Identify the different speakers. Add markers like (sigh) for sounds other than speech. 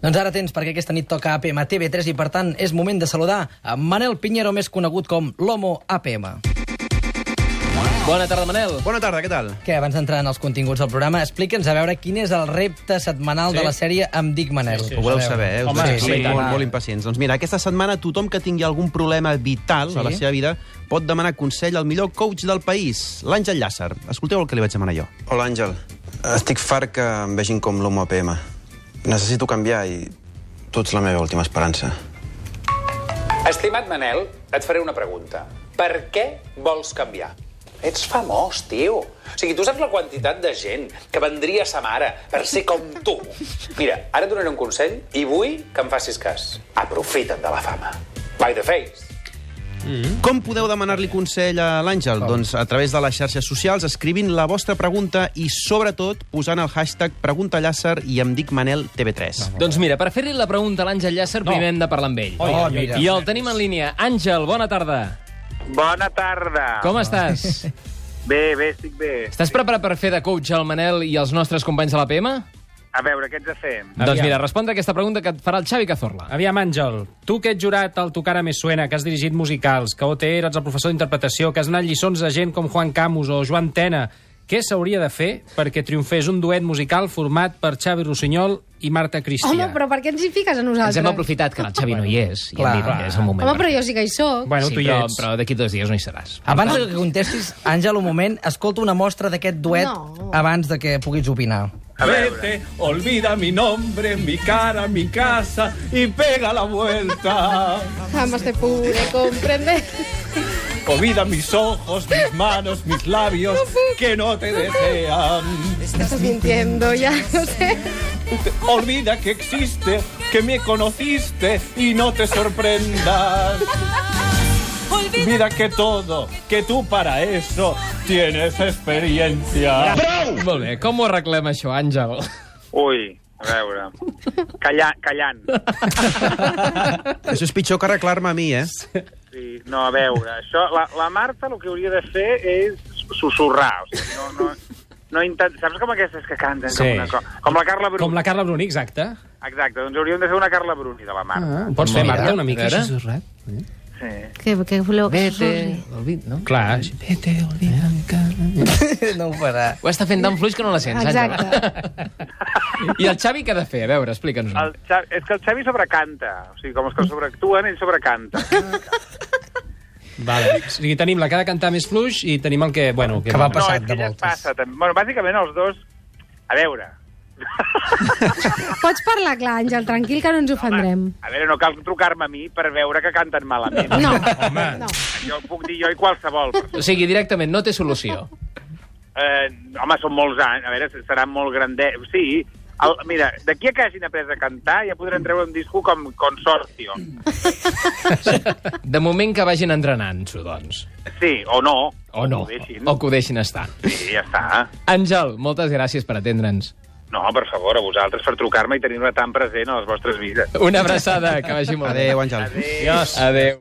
Speaker 1: Doncs ara tens, perquè aquesta nit toca APM a TV3 i, per tant, és moment de saludar a Manel Pinheiro, més conegut com l'Homo APM. Bona tarda, Manel.
Speaker 2: Bona tarda, què tal?
Speaker 1: Que abans d'entrar en els continguts del programa, explica'ns a veure quin és el repte setmanal sí. de la sèrie Em dic Manel.
Speaker 2: Ho voleu saber, eh? Us
Speaker 3: Home,
Speaker 2: veig
Speaker 3: sí.
Speaker 2: molt, molt impacients. Doncs mira, aquesta setmana tothom que tingui algun problema vital a la
Speaker 1: Sí.
Speaker 2: seva vida pot demanar consell al millor coach del país, l'Àngel Llàcer. Escolteu el que li vaig demanar jo.
Speaker 4: Hola, Àngel. Estic fart que em vegin com l'homo APM. Necessito canviar i tu ets la meva última esperança.
Speaker 5: Estimat Manel, et faré una pregunta. Per què vols canviar? Ets famós, tio. O sigui, tu saps la quantitat de gent que vendria sa mare per ser com tu. Mira, ara et donaré un consell i vull que em facis cas. Aprofita't de la fama. By the face.
Speaker 2: Com podeu demanar-li consell a
Speaker 3: Oh.
Speaker 2: l'Àngel? Doncs a través de les xarxes socials, escrivint la vostra pregunta i, sobretot, posant el hashtag Pregunta Llàcer i em dic Manel TV3.
Speaker 6: Doncs mira, per fer-li la pregunta a l'Àngel Llàcer, no. primer hem de parlar amb ell.
Speaker 1: Oh, mira.
Speaker 6: I el tenim en línia. Àngel, bona tarda.
Speaker 7: Bona tarda.
Speaker 3: Ah.
Speaker 6: Com estàs?
Speaker 3: (laughs)
Speaker 7: Bé, bé, estic bé.
Speaker 6: Estàs preparat per fer de coach al Manel i els nostres companys de la PM?
Speaker 7: A veure, què ets de fer?
Speaker 6: Doncs mira, respondre aquesta pregunta que et farà el Xavi Cazorla.
Speaker 3: Aviam, Àngel, tu que ets jurat al Tu cara me suena, que has dirigit musicals, que OT eres el professor d'interpretació, que has donat lliçons a gent com Juan Camus o Joan Tena, què s'hauria de fer perquè triomfés un duet musical format per Xavi Rossinyol i Marta Cristià?
Speaker 8: Home, però per què ens hi fiques a nosaltres?
Speaker 6: Ens hem aprofitat que el Xavi no hi és. I
Speaker 1: Clar.
Speaker 6: hem dit que és el moment.
Speaker 8: Home,
Speaker 6: per
Speaker 8: però
Speaker 6: fer-ho.
Speaker 8: jo sí que hi soc.
Speaker 3: Bueno,
Speaker 6: sí,
Speaker 3: tu hi
Speaker 6: però,
Speaker 3: ets.
Speaker 6: però d'aquí dos dies no hi seràs.
Speaker 1: Abans de que contestis, Àngel, un moment, escolta una mostra d'aquest duet
Speaker 8: No.
Speaker 1: abans de que puguis opinar.
Speaker 7: A veure,
Speaker 9: Vete, olvida mi nombre, mi cara, mi casa y pega la vuelta.
Speaker 8: Jamás te pude comprender.
Speaker 9: Olvida mis ojos, mis manos, mis labios que no te desean.
Speaker 8: Estás mintiendo ya, no sé.
Speaker 9: Olvida que existe, que me conociste y no te sorprendas. (laughs) Olvida que todo, que tú para eso tienes experiencia.
Speaker 6: Molt bé, com ho arreglem, això, Àngel?
Speaker 7: ui, a veure. Callar, callant.
Speaker 2: Això és pitjor que arreglar-me a mi, eh?
Speaker 7: Sí, no, a veure, això... La, la Marta el que hauria de fer és susurrar. O sigui, no, no, no intent... Saps com aquestes que canten?
Speaker 3: Sí.
Speaker 7: Com, una, co- com la Carla Bruni.
Speaker 3: Com la Carla Bruni, exacte.
Speaker 7: Exacte, doncs hauríem de fer una Carla Bruni de la
Speaker 3: Ah,
Speaker 7: Marta.
Speaker 3: pots fer,
Speaker 6: Mira,
Speaker 3: Marta, una
Speaker 6: a
Speaker 3: mica
Speaker 6: veure.
Speaker 3: així susurrat?
Speaker 7: Sí.
Speaker 8: Que, que voleu que susurri.
Speaker 6: Olvid, no?
Speaker 3: Clar.
Speaker 1: no ho farà.
Speaker 6: Ho està fent tan fluix que no la sents,
Speaker 8: Exacte.
Speaker 3: Ah.
Speaker 6: Àngel. I (laughs) el Xavi què ha de fer? A veure, explica'ns.
Speaker 7: El Xavi, és que el Xavi sobrecanta. O sigui, com els que sobreactuen, ell sobrecanta.
Speaker 3: Vale. O sigui, tenim la que ha de cantar més fluix i tenim el que... Bueno, que,
Speaker 1: Que va
Speaker 3: no.
Speaker 1: passar. passat
Speaker 7: no, és
Speaker 1: de
Speaker 7: que ja es
Speaker 1: voltes.
Speaker 7: passa. També. Bueno, bàsicament els dos... A veure,
Speaker 8: (laughs) Pots parlar clar, Àngel, tranquil, que no ens ofendrem.
Speaker 7: a veure, no cal trucar-me a mi per veure que canten malament.
Speaker 8: No,
Speaker 3: Home.
Speaker 8: no.
Speaker 7: Jo ho puc dir jo i qualsevol.
Speaker 6: O sigui, directament, no té solució.
Speaker 7: Eh, home, són molts anys, a veure, seran molt grandet. Sí, el, mira, d'aquí a que hagin après a cantar ja podran treure un disco com Consorcio.
Speaker 6: De moment que vagin entrenant-s'ho, doncs.
Speaker 7: Sí, o no.
Speaker 6: O no,
Speaker 7: Ho deixin.
Speaker 6: o que ho deixin estar.
Speaker 7: Sí, ja està.
Speaker 6: Àngel, moltes gràcies per atendre'ns.
Speaker 7: No, per favor, a vosaltres per trucar-me i tenir-me tan present a les vostres vides.
Speaker 6: Una abraçada, que vagi molt bé.
Speaker 2: Adéu, Àngel.
Speaker 7: Adéu.
Speaker 6: Adiós. Adéu.